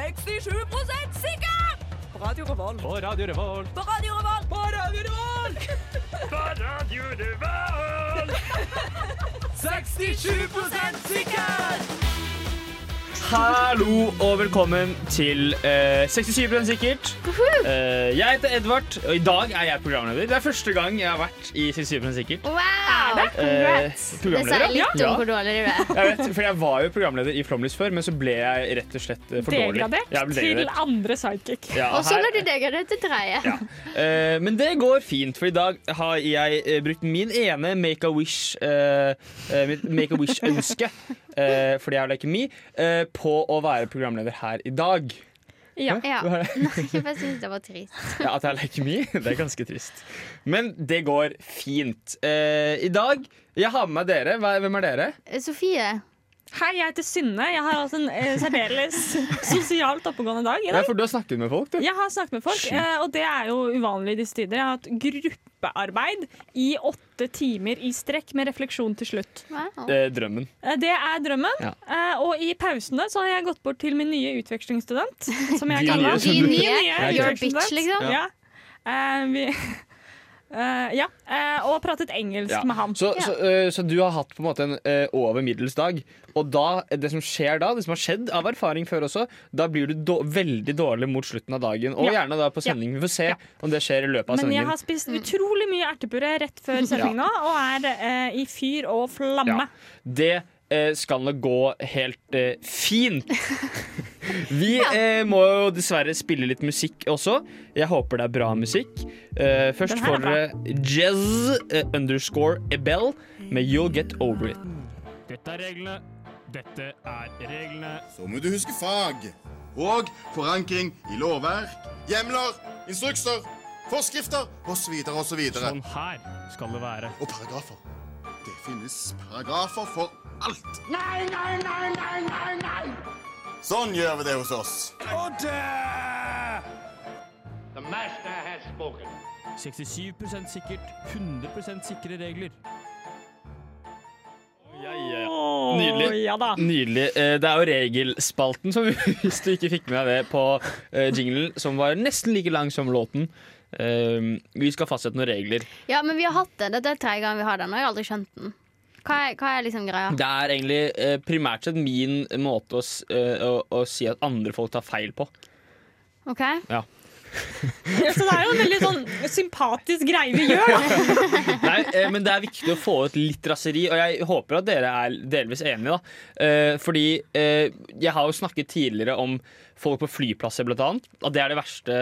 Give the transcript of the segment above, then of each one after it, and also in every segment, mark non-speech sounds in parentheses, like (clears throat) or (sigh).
67 sikker! På Radio Revolt. På Radio Revolt. På Radio Revolt. På Oh. Radio Revolt! (laughs) 67 sikker! Hallo og velkommen til eh, 67 sikkert. Eh, jeg heter Edvard, og i dag er jeg programleder. Det er første gang jeg har vært i 67 sikkert. Wow! Eh, Det sa jeg programleder, ja. litt om hvor dårlig du er. Jeg vet, for jeg var jo programleder i Flomlys før, men så ble jeg rett og slett eh, for dårlig. Degradert Jeg ble til degradert. andre sidekick. Ja, Og så her- lar du deg gjøre det til dreie. Eh, men det går fint, for i dag har jeg eh, brukt min ene Make a Wish eh, eh, mitt Make a Wish-ønske, (laughs) eh, fordi jeg har leukemi, eh, på å være programleder her i dag. Ja. Ja. Hva er (laughs) Nei, jeg bare synes det var trist. Ja, at jeg har leukemi, (laughs) det er ganske trist. Men det går fint. Eh, I dag Jeg har med meg dere. Hva- Hvem er dere? Eh, Sofie, Hei, jeg heter Synne. Jeg har hatt en eh, særdeles (laughs) sosialt oppegående dag i Ja, dag. for du har snakket med folk, du. Jeg har snakket med folk, Sjukt. eh, og det er jo uvanlig i disse tider. Jeg har hatt gruppearbeid i åtte timer i strekk med refleksjon til slutt. wow. Eh, drømmen. Eh, Det er drømmen. Ja. Eh, Og i pausene så har jeg gått bort til min nye (laughs) utvekslingsstudent. Som De jeg nye kaller ham. som du- De nye, greit. you're a bitch, liksom. Ja. Eh, vi, (laughs) eh, ja. eh, og pratet engelsk Ja. med ham. Så, Ja. så, eh, så du har hatt på en måte en eh, over middels dag. Og da, det som skjer da, det som har skjedd av erfaring før også, da blir du då- veldig dårlig mot slutten av dagen. Og Ja. gjerne da på sending. Vi får se Ja. om det skjer i løpet av Men jeg sendingen. har spist utrolig mye ertepuré rett (laughs) før sending nå, og er eh, i fyr og Ja. flamme. Det eh, skal nok gå helt eh, fint. (laughs) Vi eh, må jo dessverre spille litt musikk også. Jeg håper det er bra musikk. Eh, først Den her er får dere Jez eh, underscore Ebel med You'll Get Over It. Dette er reglene. Dette er reglene. Så må du huske fag. Og forankring i lovverk, hjemler, instrukser, forskrifter osv. osv. Sånn her skal det være. Og paragrafer. Det finnes paragrafer for alt. Nei, nei, nei, nei, nei, nei! Sånn gjør vi det hos oss. 67 sikkert, 100 sikre regler. Ja, ja. Åh, Nydelig. Ja da. Nydelig. Eh, Det er jo regelspalten som (laughs) Hvis du ikke fikk med deg det på eh, jinglen, som var nesten like lang som låten. Eh, Vi skal fastsette noen regler. Ja, men vi har hatt den. Dette er tredje gang vi har den, og jeg har aldri skjønt den. Hva er, hva er liksom (laughs) greia? Det er egentlig eh, primært sett min måte å, s- eh, å, å si at andre folk tar feil på. Ok? (laughs) Så det er jo en veldig sånn sympatisk greie vi gjør. Da. Nei, eh, men det er viktig å få ut litt raseri, og jeg håper at dere er delvis enige, da. Eh, Fordi eh, jeg har jo snakket tidligere om folk på flyplasser, blant annet. At det er det verste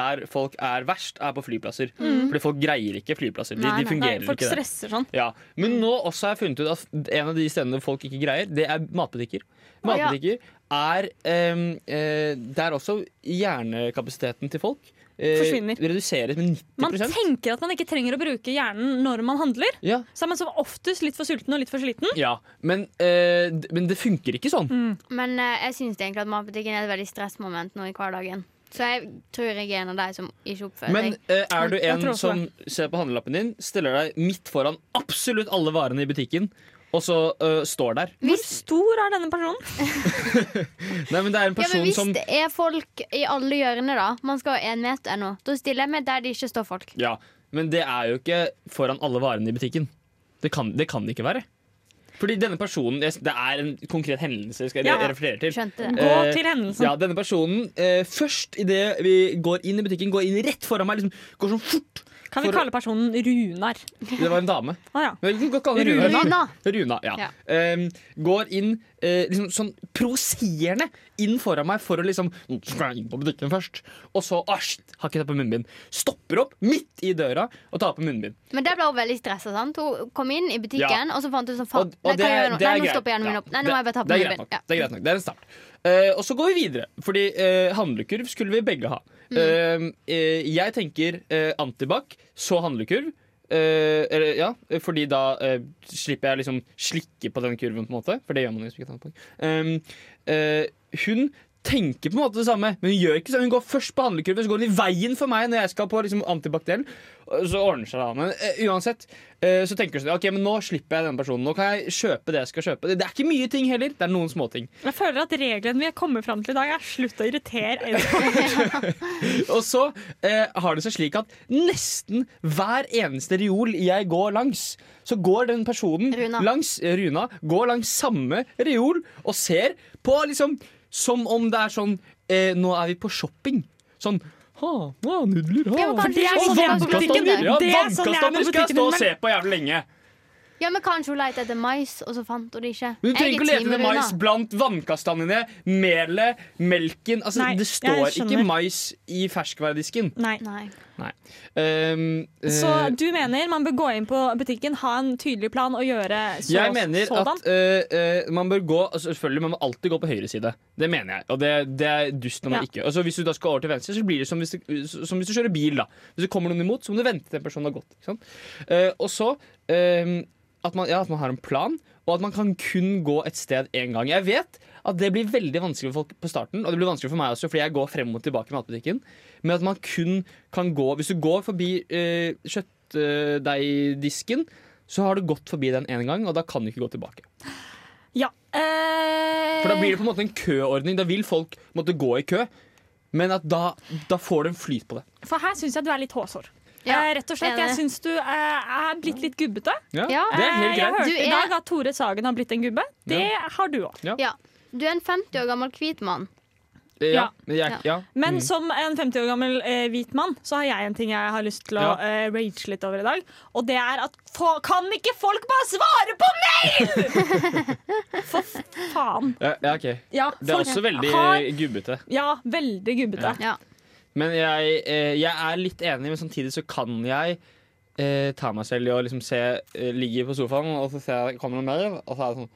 der folk er verst, er på flyplasser. Fordi folk greier ikke flyplasser. De, Nei, de nei, Nei, fungerer folk ikke der. stresser sånn. Ja. Men nå også har jeg funnet ut at en av de stedene folk ikke greier, det er matbutikker. Å, ja. Matbutikker er ehm, eh, Det er også hjernekapasiteten til folk. eh, Forsvinner. Reduseres med 90 Man tenker at man ikke trenger å bruke hjernen når man handler. ja. Så er man som oftest litt for sulten og litt for sliten. Ja, men, eh, d- men det funker ikke sånn. Men eh, jeg syns egentlig at matbutikken er et veldig stressmoment nå i hverdagen. Så jeg tror jeg er en av de som ikke oppfører Men seg. eh, er du Jeg tror en også som ser på handlelappen din, stiller deg midt foran absolutt alle varene i butikken, og så eh, står der Hvor stor er denne personen? Nei, men det er en Ja, men person hvis som det er folk i alle hjørner, da Man skal ha én meter nå. Da stiller jeg meg der det ikke står folk. Ja, men det er jo ikke foran alle varene i butikken. Det kan det, kan det ikke være. Fordi denne personen Det det er en konkret hendelse jeg skal Ja, re- referere til. Skjønte det. Gå Eh, til hendelsen. Ja, denne personen eh, Først idet vi går inn i butikken, går inn rett foran meg, liksom, går sånn fort. Kan vi for- kalle personen Runar? Det var en dame. Å ja. Men vi kan kalle henne Runa. Runa. Runa, ja. Ehm, går inn eh, liksom sånn provoserende inn foran meg for å liksom «Nå Skal jeg inn på butikken først? Og så ah, shit, har ikke tatt på munnbind. Stopper opp midt i døra og tar på munnbind. Men der ble hun veldig stressa. sant? Hun kom inn i butikken, og så fant hun sånn faen, Og, og nei, hva det, gjør jeg er- nå? det Nei, er nå greit. stopper jeg Ja. munnen opp. Nei, nå må jeg bare ta på det er munnen greit min. nok. Ja. Det er greit nok. Det er en start. Eh, og så går vi videre, fordi eh, handlekurv skulle vi begge ha. Mm. Eh, eh, jeg tenker eh, antibac, så handlekurv. Eh, eller, ja, fordi da eh, slipper jeg liksom slikke på den kurven, på en måte. For det gjør man jo hvis man ikke tar antibac. Eh, eh, hun tenker på en måte det samme, men hun gjør ikke sånn. Hun går først på handlekurven, så går hun i veien for meg når jeg skal på liksom, antibakteriell. og Så ordner seg det. da. Men eh, uansett eh, så tenker hun sånn Ok, men nå slipper jeg denne personen. Nå kan jeg kjøpe det jeg skal kjøpe. Det, det er ikke mye ting heller. Det er noen småting. Jeg føler at regelen vi har kommet fram til i dag, er slutt å irritere Eirik. Og så eh, har det seg slik at nesten hver eneste reol jeg går langs, så går den personen Runa. langs eh, Runa går langs samme reol og ser på liksom som om det er sånn eh, Nå er vi på shopping. Sånn ha, ha, nudler, ha. Ja, men kanskje det er Å, sånn jeg er på vannkastanjer, butikken. Ja, Det er sånn jeg er på vannkastanjer skal jeg butikken, stå og men- se på jævlig lenge. Ja, men Kanskje hun lette etter mais, og så fant hun det ikke. Men Du trenger Jeg ikke å er lete team etter Runa. mais blant vannkastanjene, melet, melken altså, Nei, Det jeg står ikke skjønner. mais i ferskvaredisken. (laughs) Nei. Nei. Um, Så eh, du mener man bør gå inn på butikken, ha en tydelig plan og gjøre så, Jeg mener sådan? at eh, eh, man bør gå altså Selvfølgelig, man må alltid gå på høyre side. Det mener jeg, og det, det er dust når man Ja. ikke Altså Hvis du da skal over til venstre, så blir det som hvis du, som hvis du kjører bil. da Hvis det kommer noen imot, så må du vente til den personen har gått. Ikke sant? Eh, og så eh, at, man, ja, at man har en plan, og at man kan kun gå et sted én gang. Jeg vet at det blir veldig vanskelig for folk på starten, og det blir vanskelig for meg også, fordi jeg går frem og tilbake i matbutikken. Men at man kun kan gå Hvis du går forbi eh, kjøttdeigdisken, så har du gått forbi den en gang, og da kan du ikke gå tilbake. Ja. Eh, For da blir det på en måte en køordning. Da vil folk måtte gå i kø, men at da, da får du en flyt på det. for her syns jeg du er litt hårsår. Ja, eh, rett og slett, enig. Jeg syns du eh, er blitt litt gubbete. Ja. Det er Eh, helt Jeg greit. hørte Du i er- dag at Tore Sagen har blitt en gubbe. Det har du òg. Ja. Du er en 50 år gammel hvit mann. Ja, men jeg, ja. Men som en 50 år gammel eh, hvit mann, så har jeg en ting jeg har lyst til å Ja. eh, rage litt over i dag. Og det er at få, kan ikke folk bare svare på mail?! For faen. Ja, ja, ok. Ja, Det er folk også veldig har- eh, gubbete. Ja, veldig gubbete. Ja. Men jeg, eh, jeg er litt enig, men samtidig så kan jeg eh, ta meg selv i å liksom se eh, Ligge på sofaen, og så ser jeg det kommer noen mail, og så er det sånn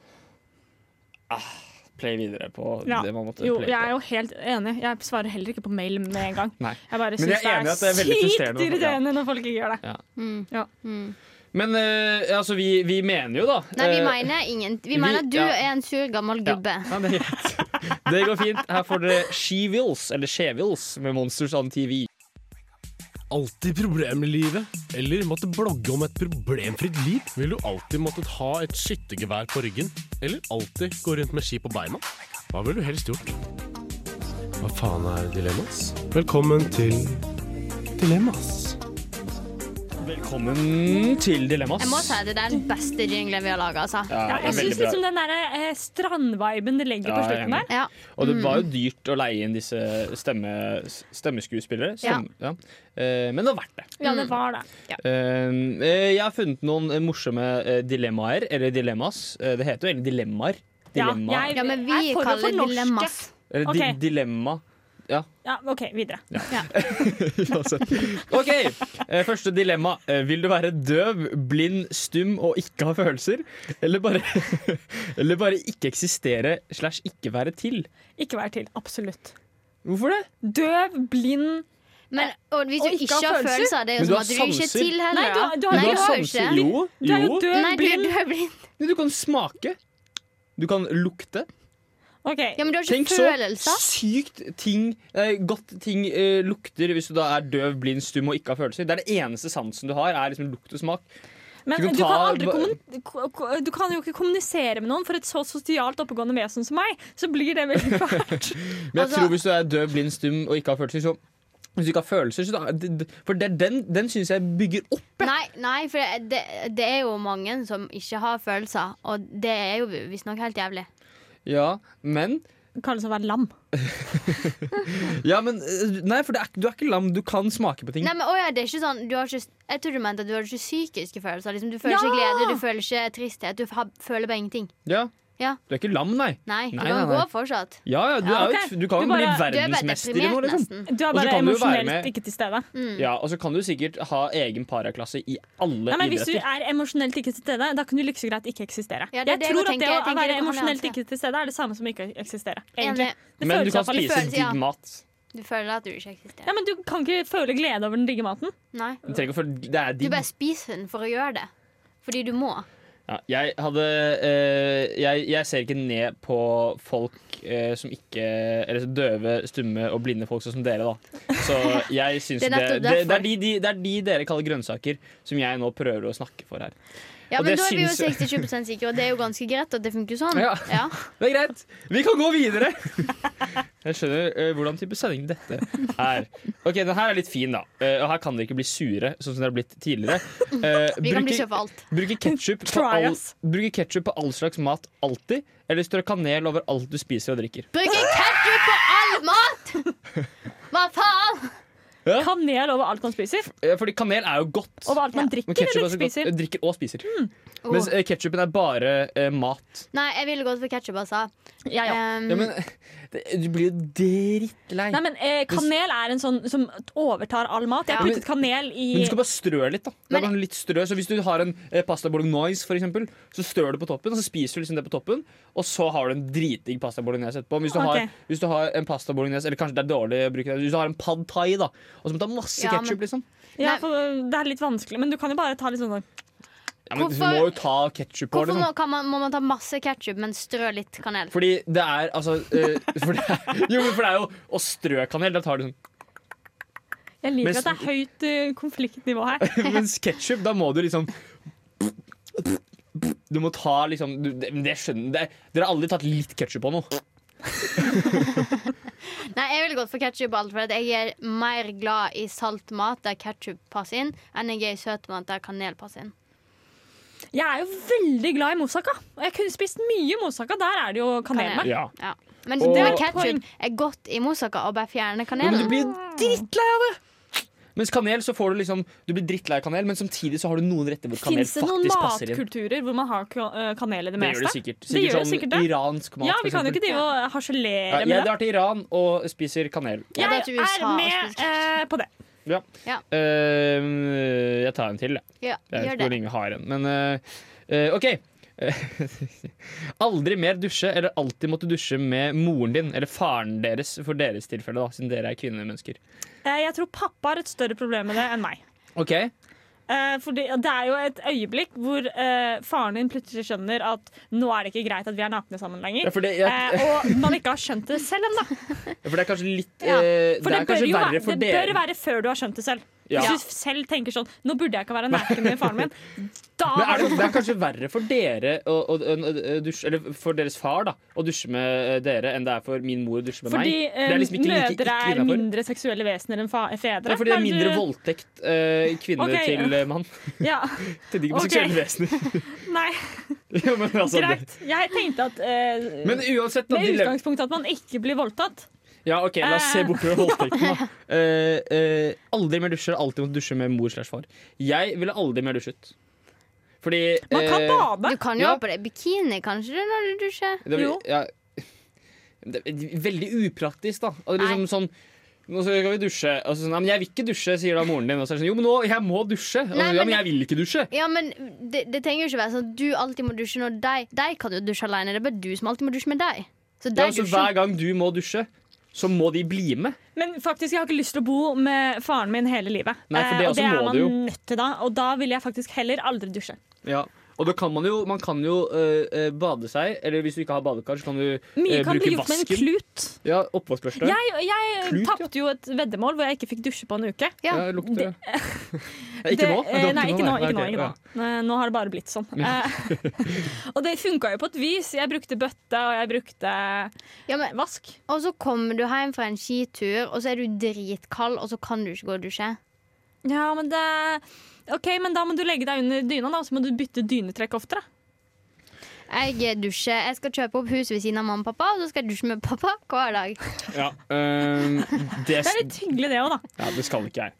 ah, Play videre på Ja. det man måtte Jo, play jeg er på. jo helt enig. Jeg svarer heller ikke på mail med en gang. Nei. Jeg Men bare jeg syns det er enig er, at det er veldig frustrerende sykt når folk- ja. irriterende når folk ikke gjør det. Mm. Ja. Mm. Men eh, altså, vi, vi mener jo, da Nei, vi eh, mener ingen Vi vi- mener at du ja. er en sur, gammel Ja. gubbe. Ja, det, er greit. det går fint. Her får dere She-Wills, eller She-Wills, med Monsters on TV. alltid problemer i livet, eller måtte blogge om et problemfritt liv? Vil du alltid måttet ha et skyttergevær på ryggen, eller alltid gå rundt med ski på beina? Hva ville du helst gjort? Hva faen er dilemmas? Velkommen til Dilemmas. Velkommen til Dilemmas. Jeg må si at det er den beste jinglen vi har laga, altså. Ja, Ja, det er jeg syns veldig bra. liksom den der, eh, strandviben det legger Ja, på jeg er slutten enig. der. Ja. Og det var jo dyrt å leie inn disse stemme, stemmeskuespillere. Stemme, ja. Eh, men det var verdt det. Ja, Mm. det var det. Eh, eh, jeg har funnet noen eh, morsomme eh, dilemmaer, eller dilemmas. Eh, det heter jo egentlig dilemmaer. Dilemma. Ja, jeg ja, men vi er for å kaller det fornorske. dilemmas. eller di ok. dilemma. Ja, OK, videre. (laughs) Uansett. OK, eh, første dilemma. Eh, vil du være døv, blind, stum og ikke ha følelser? Eller bare, (laughs) eller bare ikke eksistere slash ikke være til? Ikke vær til. Absolutt. Hvorfor det? Døv, blind Men og hvis du Og ikke har følelser, det er Men jo du som har at du ikke er sanser. til heller. Nei, du har- du da. har- Nei, du du har har jo ikke. sanser. Jo, Du er jo jo. døv, Nei, du, blind du er blind. Du kan smake. Du kan lukte. OK. Ja, men du har Tenk ikke så følelser. sykt ting eh, godt ting eh, lukter hvis du da er døv, blind, stum og ikke har følelser. Det er det eneste sansen du har, er liksom lukt og smak. Men Skal vi du kan, ta- aldri kommun- ko- ko- du kan jo ikke kommunisere med noen, for et så sosialt oppegående vesen som meg, så blir det veldig (laughs) fælt. Men jeg Altså- tror hvis du er døv, blind, stum og ikke har følelser, så hvis du ikke har følelser, så da, d- d- For det, den, den syns jeg bygger opp. Nei, nei, for det, det, det er jo mange som ikke har følelser, og det er jo visstnok helt jævlig. Mm. Ja, men Det kalles å være lam. Ja, men eh, Nei, for det er, ikke- du er ikke lam. Du kan smake på ting. Nei, men åja, det er ikke sånn du har ikke, Jeg tror du mente at du har ikke psykiske følelser. Liksom, du føler Ja! ikke glede, du føler ikke tristhet. Du har, føler bare ingenting. Ja. Ja. Du er ikke lam, nei. Nei, du Nei, nei, kan nei. gå fortsatt. Ja, ja, du, Ja, er jo, ok. et- du kan Du jo bli bare- Du er bare verdensmester i noe, deprimert, liksom. nesten. Du er Og så bare kan du jo være med- emosjonelt ikke til stede. Ja, Og så kan du sikkert ha egen paraklasse i alle Nei, men Hvis du idretter. er emosjonelt ikke til stede, da kan du like så greit ikke eksistere. Ja, det er jeg det tror jeg at tenker. det å Jeg tenker være det kan være emosjonelt alt, ikke til stede er det samme som ikke å eksistere. egentlig. Enig. Det Men du føles kan i hvert fall- spise føles, ja. digg mat. Du føler at du ikke eksisterer. Ja, men Du kan ikke føle glede over den digge maten. Nei. Du trenger ikke å føle Det er Du digg. bare spiser den for å gjøre det. Fordi du må. Ja, jeg hadde eh, jeg, jeg ser ikke ned på folk eh, som ikke Eller så døve, stumme og blinde folk sånn som dere, da. Så jeg syns (laughs) Det det, er det, nettopp det, derfor. er de, de, det er de dere kaller grønnsaker, som jeg nå prøver å snakke for her. Ja, Og men det da er vi jo synes- 67 sikre, og det er jo ganske greit at det funker sånn. Ja. Ja. Det er greit. Vi kan gå (laughs) videre. Jeg skjønner eh, hvordan type sending dette er. Ok, Den her er litt fin, da. Eh, og her kan dere ikke bli sure, sånn som dere har blitt tidligere. Eh, Vi kan bli bruker- kjøpt for alt. Bruke ketchup på, Try all, us. bruke ketchup på all slags mat alltid, eller strø kanel over alt du spiser og drikker. Bruker ketchup på all (laughs) mat! Hva faen? Kanel over alt man spiser. Eh, Fordi kanel er jo godt. Over alt man drikker Men ketchup eller er så godt- spiser. Mm. eh, drikker og spiser. Oh. Mens eh, ketchupen er bare eh, mat. Nei, jeg ville gått for ketchup, altså. Ja, ja. Um, Ja, men (laughs) det, du blir jo drittlei. Nei, men eh, Kanel er en sånn som overtar all mat. Jeg har Ja. puttet kanel i Men du skal bare strø litt. da Det Men- er bare litt strø Så Hvis du har en eh, pasta bolognese, for eksempel, så strør du på toppen, og så spiser du liksom det på toppen, og så har du en dritdigg pasta bolognese etterpå. Men hvis du, Ok. har, hvis du har en pasta bolognese Eller kanskje det er dårlig å bruke det Hvis du har en pad thai, da, og så må du ta masse Ja, men- ketchup, liksom. ja, Nei. for Det er litt vanskelig, men du kan jo bare ta litt sånn Ja, men Hvorfor- Du må jo ta ketsjup på det. hvorfor må, nå. kan man, må man ta masse ketchup, men strø litt kanel? Fordi det er altså eh, for det er, (laughs) Jo, men for det er jo å strø kanel. Da tar du sånn (laughs) Jeg liker Men- at det er høyt eh, konfliktnivå her. Mens ketsjup, da må du liksom Du må ta liksom du, det, men det skjønner det, Dere har aldri tatt litt ketsjup på noe. Nei, jeg ville gått for ketchup på alt, for at jeg er mer glad i salt mat der ketchup passer inn, enn jeg er i søt mat der kanel passer inn. Jeg er jo veldig glad i moussaka. Og jeg kunne spist mye moussaka. Der er det jo kanel Kanel. med. Ja. Ja. Men Og- det med ketchup er godt i moussaka og bare fjerne Men du kanelen. blir jo drittlei av det! Mens kanel så får du liksom Du blir drittlei av kanel, men samtidig så har du noen retter hvor kanel Fins det noen faktisk passer inn. matkulturer hvor man har ka- eh, kanel i det Det gjør meste? det sikkert. Det gjør Sikkert det sånn sikkert det. iransk mat. Ja, vi for kan eksempel. jo ikke drive og harselere ja, Jeg med det. drar til Iran og spiser kanel. Jeg drar Jeg til USA er og med spiser eh, på det. Ja. Ja. Eh, jeg tar en til, jeg. Ja, Jeg vet gjør ikke hvor det. lenge jeg har en, men eh, eh, OK. (laughs) Aldri mer dusje, eller alltid måtte dusje med moren din eller faren deres, for deres tilfelle, da, siden dere er kvinnemennesker. Eh, jeg tror pappa har et større problem med det enn meg. OK? Eh, fordi det er jo et øyeblikk hvor eh, faren din plutselig skjønner at nå er det ikke greit at vi er nakne sammen Ja, lenger. for, det, ja, Eh, og man ikke har skjønt det selv ennå. for (laughs) det er kanskje litt Ja, eh, Det For det, er bør kanskje jo være, verre for det bør dere. være før du har skjønt det selv. Ja. Hvis du selv tenker sånn Nå burde jeg ikke være naken med faren (laughs) min. Da Men er det, det er kanskje verre for dere å, å, å, å dusje, eller for deres far da, å dusje med eh, dere enn det er for min mor å dusje med Fordi meg. eh, Det er liksom ikke like- ikke mødre er innenfor. mindre seksuelle vesener enn fa eh, fedre. Det er fordi det er Men mindre du- voldtekt eh, kvinne Ok. til eh, mann. Ja. (laughs) Til de Ok. seksuelle (laughs) vesener. Nei, Ja, men altså, det- greit. Jeg tenkte at eh, Men uansett, da, Med dilemma- utgangspunkt i at man ikke blir voldtatt. Ja, ok, La oss se bort fra voldtekten. (laughs) da Eh, eh, Aldri mer dusjer. Alltid måtte dusje med mor slash far. Jeg ville aldri mer dusjet. Fordi Man kan eh, bade. Du kan jo Ja. ha på deg bikini, kanskje, du, når du dusjer? det, Jo. blir- ja, det er veldig upraktisk, da. Og det er liksom sånn nå skal vi dusje. Og så sånn, «Nei, men jeg vil ikke dusje, sier da moren din. Og så er det sånn, jo, men nå, jeg må dusje. Og, så, Nei, ja, men men jeg vil ikke dusje. Ja, men det, det trenger jo ikke være sånn at du alltid må dusje når deg De kan jo dusje alene, det er bare du som alltid må dusje med deg. Så Ja, deg så dusjer. hver gang du må dusje, så må de bli med. Men faktisk, jeg har ikke lyst til å bo med faren min hele livet. Nei, for det Eh, også og det er må man du jo. Eh, nødt til da. Og da vil jeg faktisk heller aldri dusje. Ja. Og da kan man jo, man kan jo øh, øh, bade seg, eller hvis du ikke har badekar, så kan du Mye øh, kan bli bruke gjort med en vasken. klut. Ja, oppvaskbørste. Jeg, jeg Klut, ja. tapte jo et veddemål hvor jeg ikke fikk dusje på en uke. Ja. Ja, lukter det. (laughs) Nei, Det- Ikke nå? eh, Nei, ikke nå. nei. Ikke nå, Ok, ikke nå. ja. Nei, nå har det bare blitt sånn. Eh, (laughs) og det funka jo på et vis. Jeg brukte bøtte, og jeg brukte Ja, men, vask. og så kommer du hjem fra en skitur, og så er du dritkald, og så kan du ikke gå og dusje. Ja, men det OK, men da må du legge deg under dyna, da, og så må du bytte dynetrekk oftere. Jeg eh, dusjer, jeg skal kjøpe opp huset ved siden av mamma og pappa, og så skal jeg dusje med pappa hver dag. Ja, (laughs) øhm, det, Det er litt hyggelig, det òg, da. ja, det skal ikke jeg.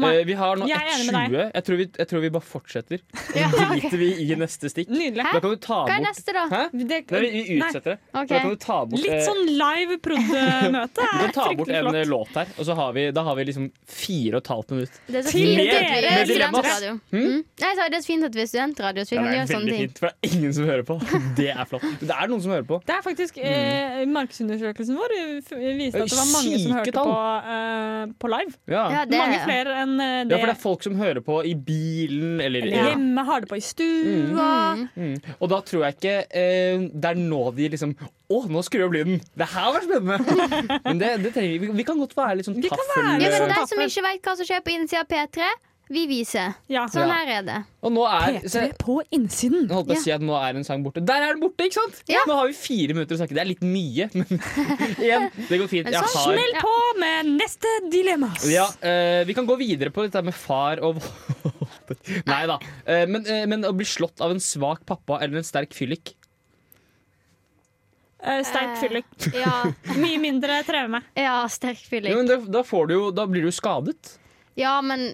Nei. Eh, vi har nå Jeg er enig med 1,20. Jeg, tror vi- jeg tror vi bare (laughs) fortsetter. Ja, Driter vi i neste stikk. Nydelig. Da kan du ta Hva er bort neste, da? Hæ? Det, Nei, vi- vi nei. utsetter det. Ok. Da kan du ta bort, eh, Litt sånn live (laughs) prod.-møte du er kan ta bort fryktelig en eh, flott. låt her, og så har vi, da har vi liksom fire og et halvt minutt. Det er så Til fint at dere vi er dilemmas. studentradio. Mm. Nei, så er det så fint at vi er studentradio, så vi Ja, kan det er gjøre sånne veldig ting. fint, for det er ingen som hører på. (laughs) Det er flott. Men Det er noen som hører på. Det er faktisk mm. eh, Markedsundersøkelsen vår eh, f- viste at det var mange Syke som hørte tall. på, eh, på live. Ja. Ja, det mange er- flere enn eh, Ja, det. for det er folk som hører på i bilen eller Eller hjemme har det på i Mm. stua. Mm. Og da tror jeg ikke eh, det er nå de liksom Å, nå skrur jeg opp lyden! Det her var spennende! (laughs) Men det, det trenger vi. Vi kan godt være litt sånn Vi kan taffel... være Ja, litt men sånn- De som ikke vet hva som skjer på innsida av P3, vi viser. Ja. Sånn Ja. her er (laughs) det. Og nå er så, P3 på innsiden. Jeg holdt på Ja. å si at nå er en sang borte. Der er den borte! ikke sant? Ja. Nå har vi fire minutter å snakke. Det er litt mye, men (laughs) igjen, det går fint. Men Jeg sånn har Smell på med neste dilemma. ja, eh, Vi kan gå videre på dette med far og voldtekt. Nei da. Eh, men, eh, men å bli slått av en svak pappa eller en sterk fyllik Eh, sterk Eh. fyllik. Ja, Mye mindre traume. ja sterk Jo, fyllik. men da, da, får du jo, da blir du jo skadet. Ja, men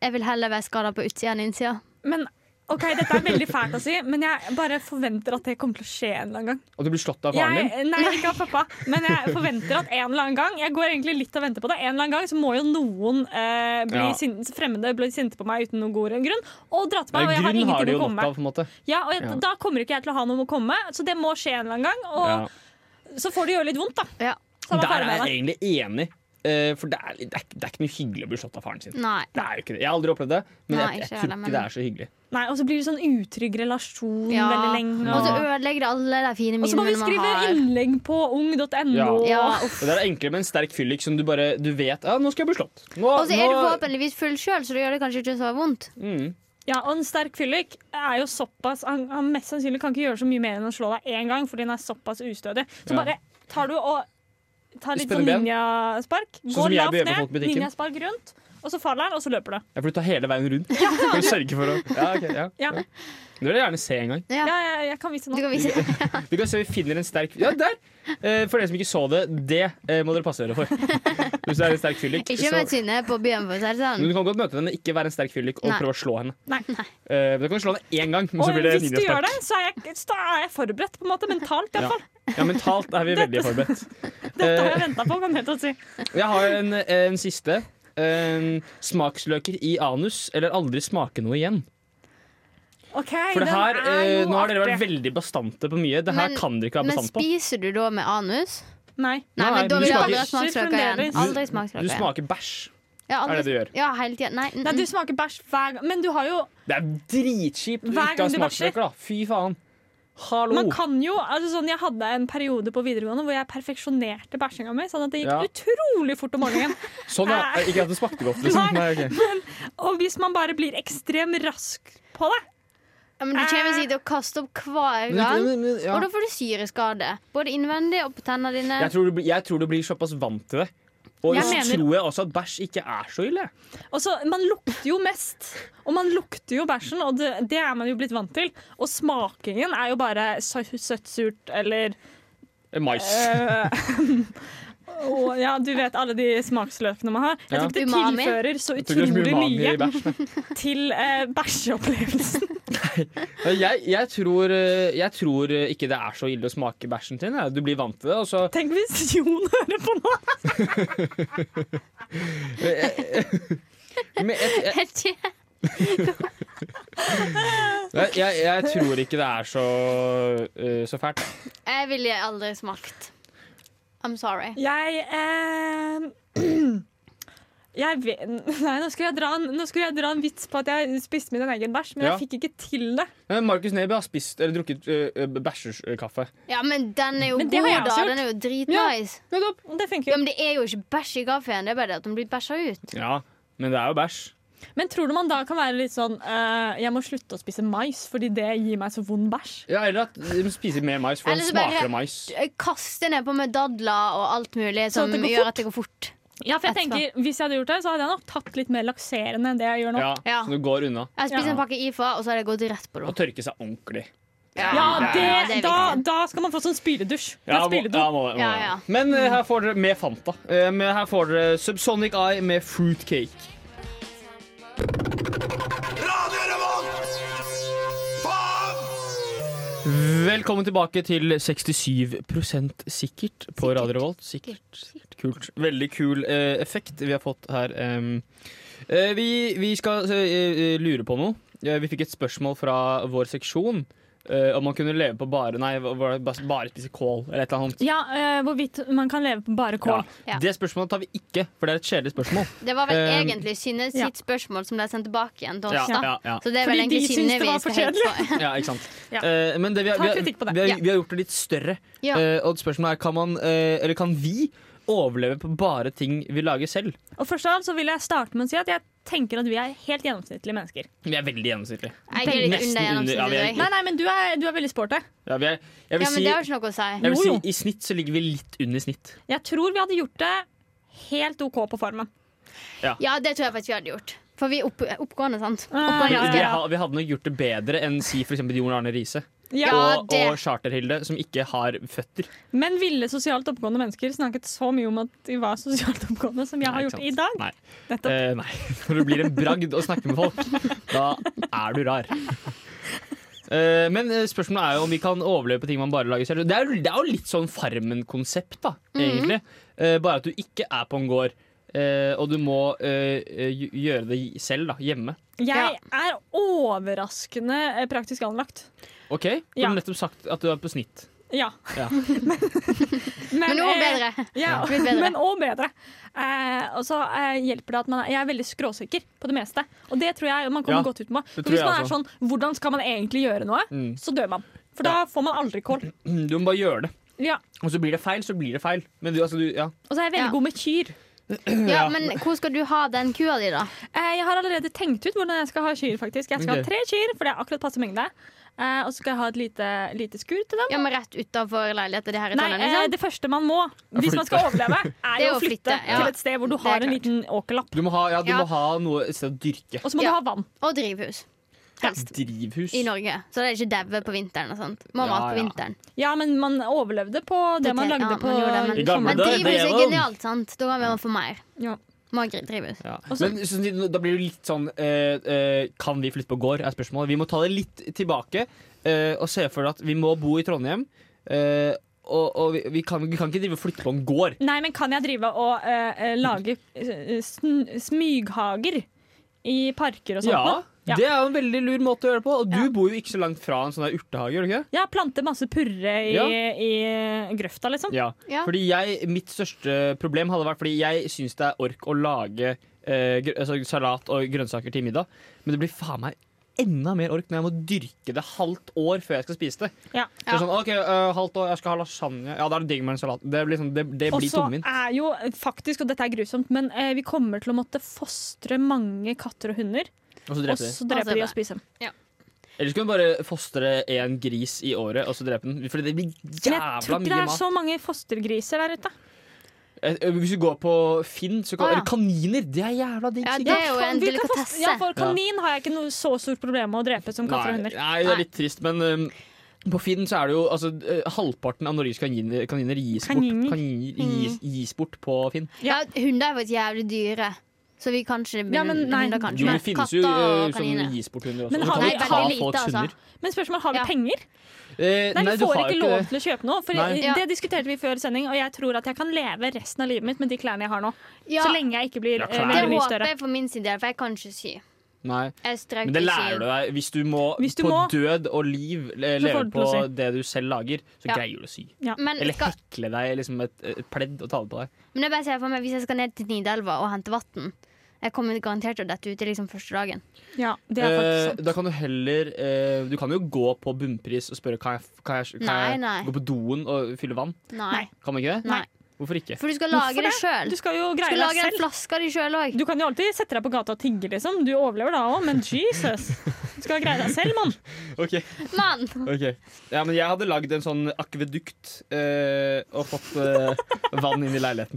jeg vil heller være skada på utsida enn innsida. Men ok, dette er veldig fælt å si, men jeg bare forventer at det kommer til å skje en eller annen gang. Og du blir slått av faren din. Jeg, nei, ikke av pappa, men jeg forventer at en eller annen gang Jeg går egentlig litt og venter på det. En eller annen gang så må jo noen eh, bli Ja. sin, fremmede bli sinte på meg uten noen god grunn, og dra til meg, og jeg har Grunn Eh, har de jo ingenting å nok komme av. med. på en måte Ja, og jeg, Ja. Da kommer ikke jeg til å ha noe å komme med, så det må skje en eller annen gang. Og ja. så får det gjøre litt vondt, da. Ja. Samme Der ferdig er med jeg det. egentlig enig. Eh, for det er, litt- det, er, ikke- det er ikke noe hyggelig å bli slått av faren sin. Nei. Det er jo ikke det. Jeg har aldri opplevd det, men Nei, jeg, jeg ikke tror heller, ikke det men- er så hyggelig. Nei, Og så blir det sånn utrygg relasjon Ja. Mm, veldig lenge. Og så Og, ødelegger det alle de fine og så må vi minnene man skrive har. innlegg på ung.no. Ja. Ja, Og Det er enklere med en sterk fyllik som du bare du vet ja, nå skal jeg bli slått. Nå, Og så er du nå- forhåpentligvis full sjøl, så det gjør det kanskje ikke så vondt. Mm. Ja, og en sterk fyllik er jo såpass han, han mest sannsynlig kan ikke gjøre så mye mer enn å slå deg én gang, fordi han er såpass ustødig. Så Ja. bare tar du og tar litt Spenner sånn ben. ninjaspark. Sånn som går jeg gjør lavt med folk i ned, butikken. ninjaspark rundt, og så faller han, og så løper du. Jeg får ta hele veien rundt. Skal sørge for å ja, ok, ja, Ja. ja. Det vil jeg gjerne se en gang. Ja. Ja, jeg, jeg kan vise Du nå. kan (laughs) vise det. Vi kan se om vi finner en sterk Ja, der! Eh, for dere som ikke så det, det eh, må dere passe dere (laughs) for. Hvis det er en sterk fyllik, Ikke så møt Synne på byen, for å si men det sånn. Du kan godt møte henne, ikke være en sterk fyllik og (laughs) Nei. prøve å slå henne. Nei. Eh, men du kan slå henne én gang, men så Og blir det hvis du ninjaspark. gjør det, så er jeg, så er jeg forberedt, på en måte, mentalt Ja. iallfall. Ja, mentalt er vi veldig forberedt. (laughs) Dette har Eh, jeg venta på. kan jeg helt si. jeg har en, en siste. Eh, smaksløker i anus, eller aldri smake noe igjen. Ok, For det den her, er eh, jo Nå har dere vært artig. veldig bastante på mye. Det her Men- kan dere ikke være Men bastant på. spiser du da med anus? Nei. Nei, Nei, men da du vil jeg smaker- aldri ha smaksløker Fremdeles. igjen. Aldri Du smaksløker igjen. smaker bæsj. Ja, er det du gjør. Ja, hele tiden. Nei, mm, Nei, mm. du smaker bæsj hver gang. Men du har jo Det er dritkjipt å Hver ikke ha gang du bæsjer. smaksløker, da. Fy faen. Hallo. Man kan jo, altså sånn, Jeg hadde en periode på videregående hvor jeg perfeksjonerte bæsjinga mi. Sånn at det gikk Ja. utrolig fort (laughs) om morgenen. Sånn, ja. Ikke at det smakte godt, liksom. Nei, Nei. ok. Og hvis man bare blir ekstrem rask på det Ja, men du kommer sikkert til å kaste opp hver Men- gang. men- men- ja. Og da får du syreskade. Både innvendig og på tennene dine. (laughs) jeg, tror du, blir- jeg tror du blir såpass vant til det. Og Jeg så mener- tror jeg også at bæsj ikke er så ille. Og så, Man lukter jo mest. Og man lukter jo bæsjen, og det, det er man jo blitt vant til. Og smakingen er jo bare sø- søtt, surt (laughs) eller Eh, Mais. øh, (laughs) og, Ja, du vet alle de smaksløkene man har. Jeg Ja. tror ikke det Umami. tilfører så Jeg tror ikke det er så mye utrolig umami i mye bæsj, nei. til eh, (laughs) bæsjeopplevelsen. Jeg, jeg, tror, eh, jeg tror eh, ikke det er så ille å smake bæsjen sin. jeg. Du blir vant til det. Og så Tenk hvis Jon hører på nå! men jeg, jeg, Ikke- jeg, jeg, jeg tror ikke det er så, eh, så fælt. jeg ville aldri smakt. I'm sorry. Jeg eh, (clears throat) Jeg vet Nei, nå skulle jeg, dra en, nå skulle jeg dra en vits på at jeg spiste min egen bæsj, men Ja. jeg fikk ikke til det. Men Markus Neby har spist, eller drukket eh, bæsjekaffe. Ja, men den er jo Men god, det har da. jeg også gjort. Den er jo dritnice. Det funker Ja, jo. men det er jo ikke bæsj i kaffen. Det er bare det at den blir bæsja ut. Ja, men det er jo bæsj. Men tror du man da kan være litt sånn eh, Jeg må slutte å spise mais fordi det gir meg så vond bæsj? Ja, eller at de må spise mer mais, for Eller den så bare- smaker av mais. Jeg kaster nedpå med dadler og alt mulig som Sånn at det går gjør fort. at det går fort. Ja, for jeg Etterpå. tenker, Hvis jeg hadde gjort det, så hadde jeg nok tatt litt mer lakserende enn det jeg gjør nå. Ja, Ja. Så du går unna. Jeg spiser Ja. en pakke IFA, og så har det gått rett på do. Og tørke seg ordentlig. Ja, Ja, det, ja, det er da, viktig. da skal man få sånn spyledusj. Det er Ja, må, spyledo. ja, må, det, må. Ja, det. ja. Men eh, her får dere med Fanta. Eh, men her får dere Subsonic Eye med Fruitcake. Radio Revolt! Faen! Velkommen tilbake til 67 sikkert på Radio Revolt. Sikkert. sikkert Kult. Veldig kul eh, effekt vi har fått her. em. Eh, vi, vi skal eh, eh, lure på noe. Eh, vi fikk et spørsmål fra vår seksjon. eh, om man kunne leve på bare Nei, hva var det? bare, bare spise kål eller et eller annet. Ja, eh, hvorvidt man kan leve på bare kål. Ja. Det spørsmålet tar vi ikke, for det er et kjedelig (laughs) spørsmål. Det var vel Eh, egentlig Synne ja. sitt spørsmål som ble sendt tilbake igjen til Ja, oss. da ja, ja. Så det er vel Fordi egentlig de Synne syntes det vi var for skal hate på. Ja, ikke sant? Ja. Eh, men det, vi, har, Ta vi, har, kritikk på det. Vi, har, Ja. vi har gjort det litt større. (laughs) Ja. Eh, og spørsmålet er kan man, eh, eller kan vi overleve på bare ting vi lager selv? Og først av alt så vil jeg starte med å si at jeg tenker at vi er helt gjennomsnittlige mennesker. Vi er veldig gjennomsnittlige. Jeg er litt Nesten under- under ja, vi er gjennomsnittet. Nei, Ja, nei, men du er, du er veldig sporty. Ja, vi er, jeg vil men si, det har jo ikke noe å si. jeg vil Jo, si jo. i snitt så ligger vi litt under snitt. Jeg tror vi hadde gjort det helt OK på formen. Ja, det tror jeg faktisk vi hadde gjort. For vi er opp, oppgående, sant? Ah, Oppgående. ja, Vi, ha, vi hadde nok gjort det bedre enn si for eksempel Jon Arne Riise Ja. Ja, og, det. og Charterhilde, som ikke har føtter. Men ville sosialt oppegående mennesker snakket så mye om at de var sosialt oppegående som Nei, jeg har ikke gjort sant? i dag. Nei. Nettopp. Eh, nei. (laughs) Når det blir en bragd å snakke med folk, da er du rar. Eh, men eh, spørsmålet er jo om vi kan overleve på ting man bare lager selv. Det er jo, det er jo litt sånn Farmen-konsept, da, egentlig. Eh, bare at du ikke er på en gård, eh, og du må eh, eh, gj- gjøre det selv, da. Hjemme. Jeg er overraskende eh, praktisk anlagt. OK? Du Ja. har nettopp sagt at du er på snitt. Ja. (laughs) Ja. Men noe eh, bedre. Ja, Mye bedre. men òg bedre. Eh, og så eh, hjelper det at man er, jeg er veldig skråsikker på det meste. Og det tror jeg man kommer Ja, godt ut med. det For tror hvis jeg man er også. sånn Hvordan skal man egentlig gjøre noe? Mm. Så dør man. For da Ja. Mm. får man aldri kål. Du må bare gjøre det. Ja. Og så blir det feil, så blir det feil. Men du, altså, du Ja. Og så er jeg veldig Ja. god med kyr. Ja, men hvor skal du ha den kua di, da? Eh, jeg har allerede tenkt ut hvordan jeg skal ha kyr, faktisk. Jeg skal Ok. ha tre kyr, for det er akkurat passe mengde. Eh, og så skal jeg ha et lite, lite skur til dem. Ja, men Rett utafor leiligheten din her i Nei, Trondheim? eh, Liksom? det første man må hvis man skal overleve, er Det er jo å å flytte flytte, ja. til et sted hvor du Det er har en klart. liten åkerlapp. Du må ha, ja, du Ja. Må ha noe et sted å dyrke. Og så må Ja. du ha vann. Og drivhus. Helst. Drivhus. I Norge. Så det er ikke daue på vinteren og sånt. Ja, Må ha mat på ja. vinteren. Ja, men man overlevde på det Det man te- lagde ja, på man gjorde det, men- I gamle Men dager, sommeren. det drivhus er var- genialt, sant? Da kan vi få mer. Ja. Må ha gri- drivhus. Ja. Og så- Men så- så- da blir det litt sånn eh, eh, Kan vi flytte på gård, er spørsmålet. Vi må ta det litt tilbake eh, og se for at vi må bo i Trondheim. eh, og og vi, vi, kan, vi kan ikke drive og flytte på en gård. Nei, men kan jeg drive og eh, eh, lage eh, sn smyghager i parker og sånt? Ja, nå? Ja. Det er jo en veldig lur måte å gjøre det på. Og du Ja. bor jo ikke så langt fra en sånn der urtehage. gjør du ikke? Ja, plante masse purre i, Ja. i grøfta, liksom. Ja. Ja. Fordi jeg, Mitt største problem hadde vært Fordi jeg syns det er ork å lage eh, gr altså salat og grønnsaker til middag, men det blir faen meg enda mer ork når jeg må dyrke det halvt år før jeg skal spise det. Ja. Det er sånn, ok, eh, halvt år, jeg skal ha lasagne Ja, da er det digg med en salat. Det blir, sånn, det, det Og blir så tungvint. er jo eh, faktisk, og dette er grusomt, men eh, vi kommer til å måtte fostre mange katter og hunder. Og så Og dreper de. så Altså, dreper de og spiser dem. Eller så kan du bare fostre én gris i året, og så drepe den. Fordi det blir Men jeg jævla tror ikke det mye er mat. så mange fostergriser der ute. Eh, Hvis du går på Finn, så kan Å, ja. Eller kaniner! Det er jævla digg. Ja, sikkert. det er jo Faen, en vi kan fostre- delikatesse. Ja, for kanin har jeg ikke noe så stort problem med å drepe som katter og Nei, hunder. nei, det er litt trist, men um, på Finn så er det jo altså, eh, Halvparten av Norges kaniner, kaniner gis, Kaniner. Mm. Bort, kaniner gis, gis bort på Finn. Ja, hunder er faktisk jævlig dyre. Så vi kan ikke Ja, men nei. hunder kan ikke. Jo, det men finnes jo katter og eh, som kaniner. gis bort hunder også. Men Du har kan vi- jo Nei, ta veldig lite, folks altså. hunder. Men spørsmålet har vi Ja. penger? Eh, Nei, vi du får har ikke jo lov til å kjøpe noe. For Nei. jeg- Ja. Det diskuterte vi før sending, og jeg tror at jeg kan leve resten av livet mitt med de klærne jeg har nå. Ja, Så lenge jeg ikke blir Ja, eh, klær. det veldig mye håper større. jeg for min sin del, for jeg kan ikke sy. Nei. Jeg strøk Men det ikke lærer du deg. Hvis du må Hvis du på må, død og liv le- så leve får du til på å det du selv lager, så Ja. greier du å sy. Men, Eller skal, hekle deg liksom et, et pledd og ta det på deg. men jeg bare ser for meg hvis jeg skal ned til Nidelva og hente vann Jeg kommer garantert til å dette ute liksom første dagen. Ja, det er Eh, faktisk sant. da kan du heller eh, Du kan jo gå på bunnpris og spørre kan jeg, kan jeg, kan Nei, jeg nei. gå på doen og fylle vann. Nei. Kan man ikke det? Nei. Hvorfor ikke? (laughs) For du skal Hvorfor lage det sjøl. Du skal jo Du greie skal lage deg den selv. flaska di sjøl òg. Du kan jo alltid sette deg på gata og tigge, liksom. Du overlever da òg, men jesus. Du skal greie deg selv, mann. Ok, Mann! ok. Ja, men jeg hadde lagd en sånn akvedukt eh, og fått eh, vann inn i leiligheten.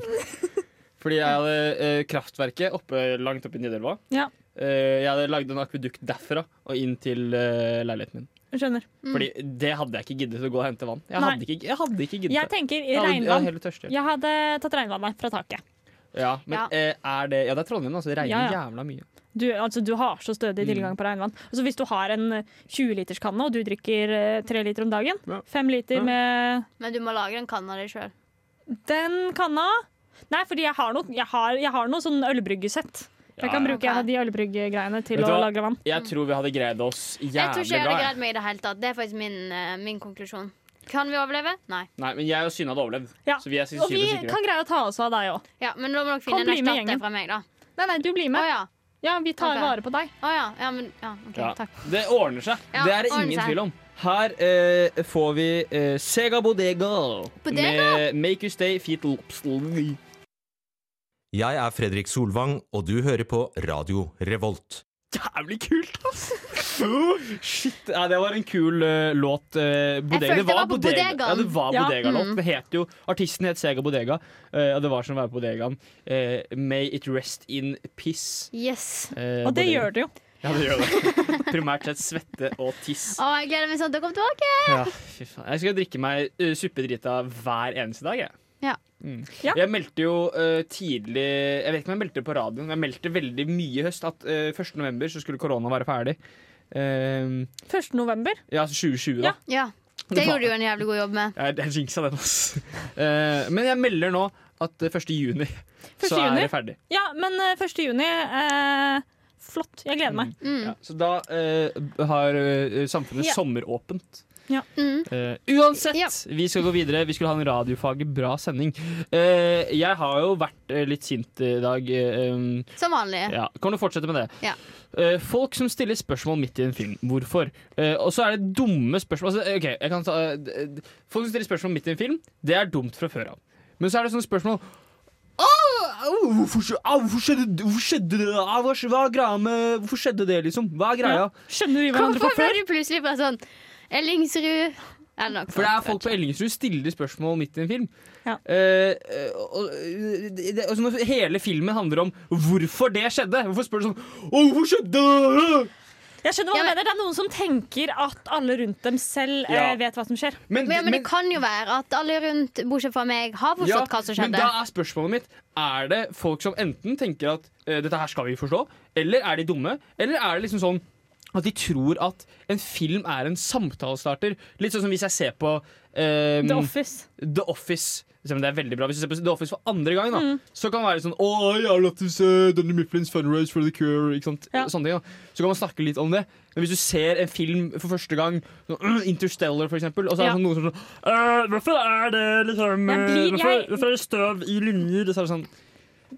Fordi jeg hadde eh, kraftverket oppe, langt oppe i Nidelva. Ja. Eh, jeg hadde lagd en akvedukt derfra og inn til eh, leiligheten min. Skjønner. Fordi det hadde jeg ikke giddet å gå og hente vann. Jeg Mm. Nei. hadde ikke, jeg hadde ikke giddet Jeg det. tenker Jeg hadde, jeg var regnvann. helt tørst. Ja. Jeg hadde tatt regnvannet fra taket. Ja, men Ja. eh, er det Ja, det er Trondheim, altså. Det regner Ja, ja. jævla mye. Du, altså, du har så stødig Mm. tilgang på regnvann. Og så hvis du har en eh, 20-literskanne, og du drikker eh, tre liter om dagen, Ja. fem liter Ja. med Men du må lage den kanna di sjøl. Den kanna Nei, fordi jeg har noe, jeg har, jeg har noe sånn ølbryggesett. Jeg kan Ja, ja. bruke en av de ølbrygggreiene til Vet du å hva? lagre vann. Jeg tror vi hadde greid oss Jeg tror jævlig ikke jeg bra. hadde jeg. greid meg i det hele tatt. Det er faktisk min, eh, min konklusjon. Kan vi overleve? Nei. Nei, men jeg og Synne hadde overlevd. Ja. Så vi er Og vi sannsynligvis sikre. kan greie å ta oss av deg òg. Ja, men da må dere Kom, finne en bli med gjengen. erstatter fra meg, da. Nei, nei, du blir Å med. ja. Ja, vi tar Ok. vare på deg. Å ja. ja, men ja, OK. Ja. Takk. Det ordner seg. Ja, det er det ordner ingen seg. tvil om. Her eh, får vi eh, Sega Bodega, Bodega? med Make You Stay Feet Lobster. Jeg er Fredrik Solvang, og du hører på Radio Revolt. Jævlig kult, ass! (laughs) Shit. Ja, det var en kul eh, låt. eh, bodega. følte jeg var på bodegaen. Ja, det var Ja, Bodega-låt. mm. Det het jo, Artisten het Sega Bodega, eh, og det var som å være på bodegaen. Eh, May it rest in piss. Yes. eh, Og det bodega. gjør du jo. Ja, det gjør det. Primært sett svette og tiss. Å, jeg gleder meg sånn til å komme tilbake. Ja, fy faen. Jeg skal drikke meg eh, suppedrita hver eneste dag, jeg. Ja. Mm. Ja. Jeg meldte jo eh, tidlig Jeg vet ikke om jeg meldte det på radioen, men jeg meldte veldig mye i høst at eh, 1. 1.11. så skulle korona være ferdig. Eh, 1. november. ja, altså 2020, Ja. da. Ja. Det gjorde du jo en jævlig god jobb med. Jeg, jeg jinxa den, ass. (laughs) Eh, men jeg melder nå at eh, 1. juni så 1. er juni? det ferdig. Ja, men eh, 1. juni eh, Flott. Jeg gleder meg. Ja, så da eh, har eh, samfunnet Mm. Ja. sommeråpent. Ja. Mm. Eh, uansett, Ja. vi skal gå videre. Vi skulle ha en radiofaglig bra sending. Eh, jeg har jo vært eh, litt sint i dag. eh, um, Som vanlig. ja. Kan du fortsette med det? Ja. Eh, folk som stiller spørsmål midt i en film. Hvorfor? Eh, og så er det dumme spørsmål. Altså, ok, jeg kan ta, eh, d- d- folk som stiller spørsmål midt i en film, det er dumt fra før av. Men så er det sånne spørsmål Au, au, hvorfor, skj- au, hvorfor, skjedde, hvorfor skjedde det? Au, hva, skj- hva er greia med Hvorfor skjedde det, liksom? Hva er greia? Ja. Skjønner vi hverandre Hvorfor fra ble før? du plutselig bare sånn Ellingsrud Eller noe For det er sånt. folk på Ellingsrud stiller spørsmål midt i en film. Ja. Eh, eh, og, eh, det, det- altså når hele filmen handler om hvorfor det skjedde. Hvorfor spør du sånn Å, hvorfor skjedde det? Jeg skjønner hva Ja, du men- mener. Det er noen som tenker at alle rundt dem selv Ja. eh, vet hva som skjer. Men, Men, ja, men det men- kan jo være at alle rundt, bortsett fra meg, har ja, forstått hva men som skjedde. da er spørsmålet mitt Er det folk som enten tenker at eh, dette her skal vi forstå, eller er de dumme? Eller er det liksom sånn at de tror at en film er en samtalestarter? Litt sånn som hvis jeg ser på eh, The Office. The Office selv om det er veldig bra Hvis du ser på The Office for andre gang, da, Mm. så kan det være sånn oh, I love to see Donny Mifflin's fundraise for the cure ikke sant? Ja. Sånne ting, da. Så kan man snakke litt om det. Men hvis du ser en film for første gang, sånn, «Åh, Interstellar for eksempel, og så er det Ja. sånn noen som sånn «Øh, Hvorfor er det liksom Jeg blir- øh, jeg- hvorfor, (laughs) hvorfor er det støv i linjer? Så er det sånn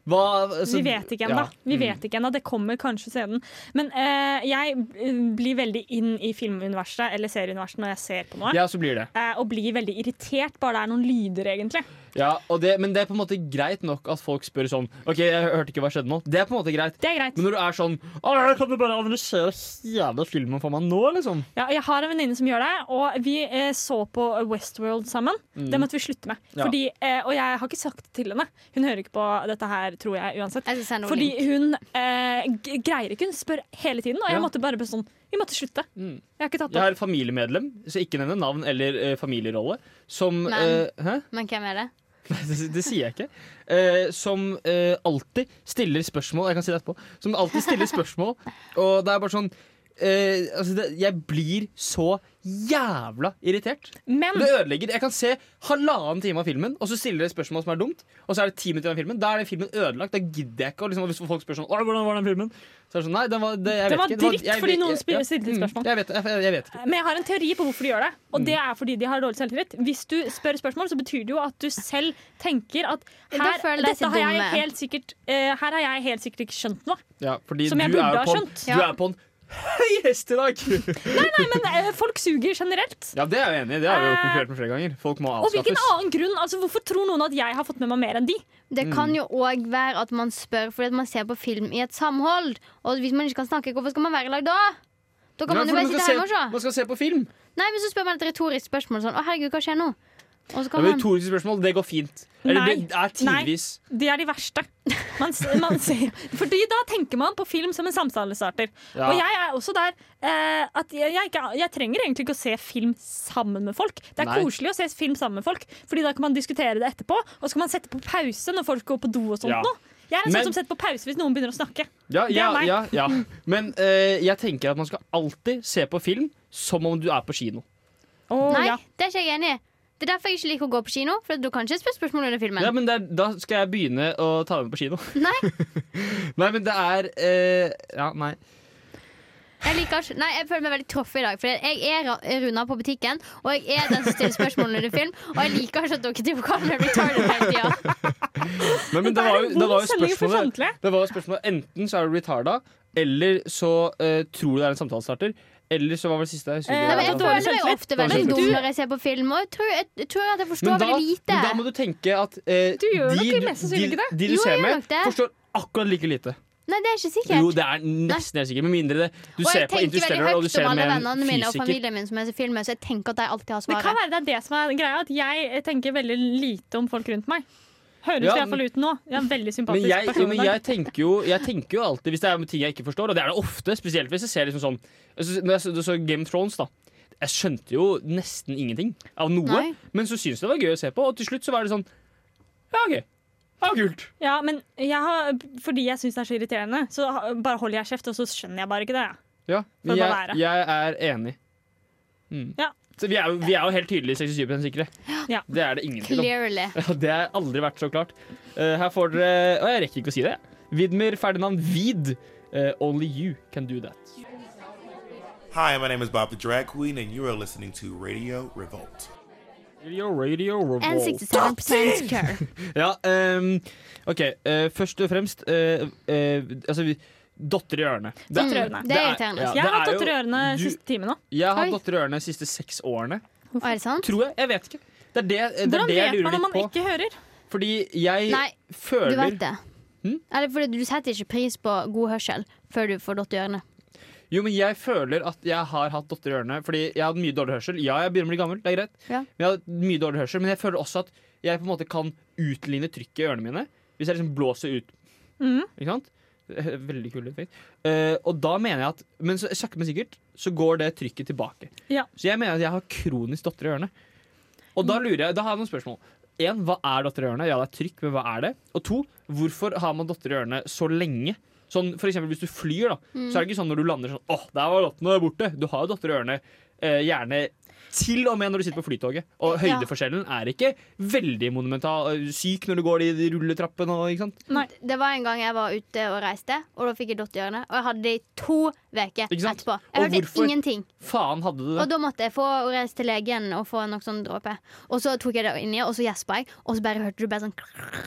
hva, altså, Vi vet ikke ennå. ja. Vi Mm. vet ikke ennå. Det kommer kanskje siden. Men eh, jeg eh, blir veldig inn i filmuniverset eller serieuniverset når jeg ser på noe. Ja, så blir det. Eh, og blir veldig irritert bare det er noen lyder, egentlig. Ja, og det. Men det er på en måte greit nok at folk spør sånn OK, jeg hørte ikke hva skjedde nå. Det er på en måte greit. Det er greit. Men når du er sånn «Åh, jeg Kan du bare analysere hele filmen for meg nå, liksom? Ja, jeg har en venninne som gjør det, og vi eh, så på Westworld sammen. Det måtte vi slutte med. Mm. Ja. Fordi, eh, og jeg har ikke sagt det til henne. Hun hører ikke på dette her, tror jeg, uansett. Jeg skal sende henne Fordi link. hun eh, g- greier ikke, hun spør hele tiden, og Ja. jeg måtte bare bli sånn Vi måtte slutte. Mm. Jeg har ikke tatt Jeg det opp. har et familiemedlem, så ikke nevne navn eller eh, familierolle, som Men- eh, Hæ? Men hvem er det? Nei, det, det sier jeg ikke. Eh, som eh, alltid stiller spørsmål Jeg kan si det etterpå. Som alltid stiller spørsmål, og det er bare sånn eh, altså det, jeg blir så jævla irritert. Men Det ødelegger. Jeg kan se halvannen time av filmen, og så stiller dere spørsmål som er dumt. Og så er det ti minutter av filmen. Da er den filmen ødelagt. Da gidder jeg ikke. Og liksom, hvis folk spør sånn «Oi, hvordan var den filmen? Så er det sånn, nei, den var, det, jeg Den vet var ikke. dritt fordi noen spiller- stilte Mm, spørsmål. Jeg vet, jeg, jeg vet ikke. Men jeg har en teori på hvorfor de gjør det. Og det er fordi de har dårlig selvtillit. Hvis du spør spørsmål, så betyr det jo at du selv tenker at Ja, da her, føler jeg dette seg har jeg dumme. helt sikkert, eh, her har jeg helt sikkert ikke skjønt noe. Ja, fordi Som jeg du burde er jo ha på en- skjønt. Du Ja. er på en høy hest i dag! Nei, men eh, folk suger generelt. ja, det er jeg enig i. Det har vi jo konkludert med flere ganger. Folk må Eh, Og hvilken avskaffes. annen grunn? Altså, hvorfor tror noen at jeg har fått med meg mer enn de? Det Mm. kan jo òg være at man spør fordi at man ser på film i et samhold. Og hvis man ikke kan snakke, hvorfor skal man være i lag da? Da kan man jo Nei, bare for sitte skal hjemme se, og se. man skal se på film. Nei, men så spør man et retorisk spørsmål sånn Å, herregud, hva skjer nå? Og så Det kan er man retoriske spørsmål. Det går fint. Eller Nei. det er tidvis. De er de verste. Man, s- man ser, fordi da tenker man på film som en samtalestarter. Ja. Og jeg er også der eh, at jeg, jeg, ikke, jeg trenger egentlig ikke å se film sammen med folk. Det er Nei. koselig å se film sammen med folk, Fordi da kan man diskutere det etterpå. Og så kan man sette på pause når folk går på do og sånt. Ja. nå. Jeg er en Men- sånn som setter på pause hvis noen begynner å snakke. Ja, Det er ja, meg. ja, ja. Men eh, jeg tenker at man skal alltid se på film som om du er på kino. Å, Nei, ja. det er ikke jeg enig i. Det er derfor jeg ikke liker å gå på kino, for du kan ikke spørre spørsmål under filmen. Ja, men det er, Da skal jeg begynne å ta det med på kino. Nei. (laughs) nei, men det er eh, Ja, nei. Jeg liker ikke Nei, jeg føler meg veldig troff i dag. For jeg er Ra- Runa på butikken, og jeg er den som stiller spørsmål under film. Og jeg liker ikke at dere driver og kaller meg retarded hele tida. Nei, men det er var, jo- en det vond var jo sending for spørsmålet samtlige. Det var jo spørsmålet Enten så er du retarda, eller så eh, tror du det er en samtalestarter. Eller så var vel det siste jeg husker Eh, ikke Nei, hva men det Jeg var. føler meg ofte veldig Dårlig dum selvtillit. når jeg ser på film, og jeg tror, jeg, jeg tror at jeg forstår Men da, veldig lite. men da må du tenke at eh, Du gjør de, nok mest sannsynlig ikke det. de du Jo, jeg ser gjør med, nok det. forstår akkurat like lite. Nei, det er ikke sikkert. Jo, det er nesten helt sikkert. Med mindre det, du og ser jeg på tenker veldig Interstellar og du høyt ser om alle med en vennene mine og fysiker. familien min som jeg ser film med, så jeg tenker at de alltid har Det kan svaret. være det er det som er greia, at jeg tenker veldig lite om folk rundt meg. Høres Ja, i hvert fall ut nå. Jeg er en veldig Men sympatisk jeg, jo, person. men i dag. jeg, tenker jo, jeg tenker jo alltid, hvis det er ting jeg ikke forstår, og det er det ofte, spesielt hvis jeg ser liksom sånn jeg synes- Når jeg så- så Game of Thrones, da. Jeg skjønte jo nesten ingenting av noe, Nei. men så syntes jeg det var gøy å se på, og til slutt så var det sånn Ja, OK. Ja, kult. Ja, men jeg har, fordi jeg syns det er så irriterende, så ha- bare holder jeg kjeft, og så skjønner jeg bare ikke det. jeg. Ja, men Får bare jeg, være. jeg er enig. Mm. Ja. Så vi er, jo- vi er jo helt tydelig 67 sikre. Ja. Det er det ingen tvil om. Clearly. Ja, (laughs) Det har aldri vært så klart. Eh, her får dere Å, jeg rekker ikke å si det. Widmer Ferdinand Wied. eh, only you can do that. Hi, my name is Bob the Drag Queen, and you are listening to Radio Revolt. Radio, radio, revolt. And 67 care. Ja, ehm, OK. eh, først og fremst eh, eh, Altså, vi Dotter i ørene. Dotter i ørene. Det er irriterende. ja, jeg det har hatt er jo- dotter i ørene du- siste time nå. Jeg har Oi. dotter i ørene de siste seks årene. Og er det sant? Tror jeg. Jeg vet ikke. Det er det, det, er Hvordan det jeg vet lurer man når litt man på. ikke hører? Fordi jeg Nei, Du føler vet det. Hm? Eller fordi du setter ikke pris på god hørsel før du får dott i ørene. Jo, men jeg føler at jeg har hatt dotter i ørene. Fordi jeg har hatt mye dårlig hørsel. Ja, jeg begynner å bli gammel, det er greit. Ja. Men jeg har hatt mye dårlig hørsel Men jeg føler også at jeg på en måte kan utligne trykket i ørene mine. Hvis jeg liksom blåser ut. Mhm. Ikke sant? (laughs) Veldig kul effekt. Eh, og da mener jeg at Men så, sakte, men sikkert så går det trykket tilbake. Ja. Så jeg mener at jeg har kronisk dotter i ørene. Og Mm. da lurer jeg, da har jeg noen spørsmål. En, hva er dotter i ørene? Ja, det er trykk, men hva er det? Og to, hvorfor har man dotter i ørene så lenge? Sånn, for eksempel hvis du flyr, da, så Mm. er det ikke sånn når du lander sånn Åh, der var dottene borte. Du har jo dotter i ørene eh, gjerne til og med når du sitter på flytoget. Og Ja. høydeforskjellen er ikke veldig monumental. eh, Syk når du går de de rulletrappene og ikke sant. Nei. Det var en gang jeg var ute og reiste, og da fikk jeg dott i ørene. Og jeg hadde det i to uker Ikke sant? etterpå. Og Jeg hørte hvorfor- ingenting. Faen hadde du Og det. da måtte jeg få reise til legen og få en sånn dråpe. Og så tok jeg det inni, og så gjespa jeg, og så bare hørte du bare sånn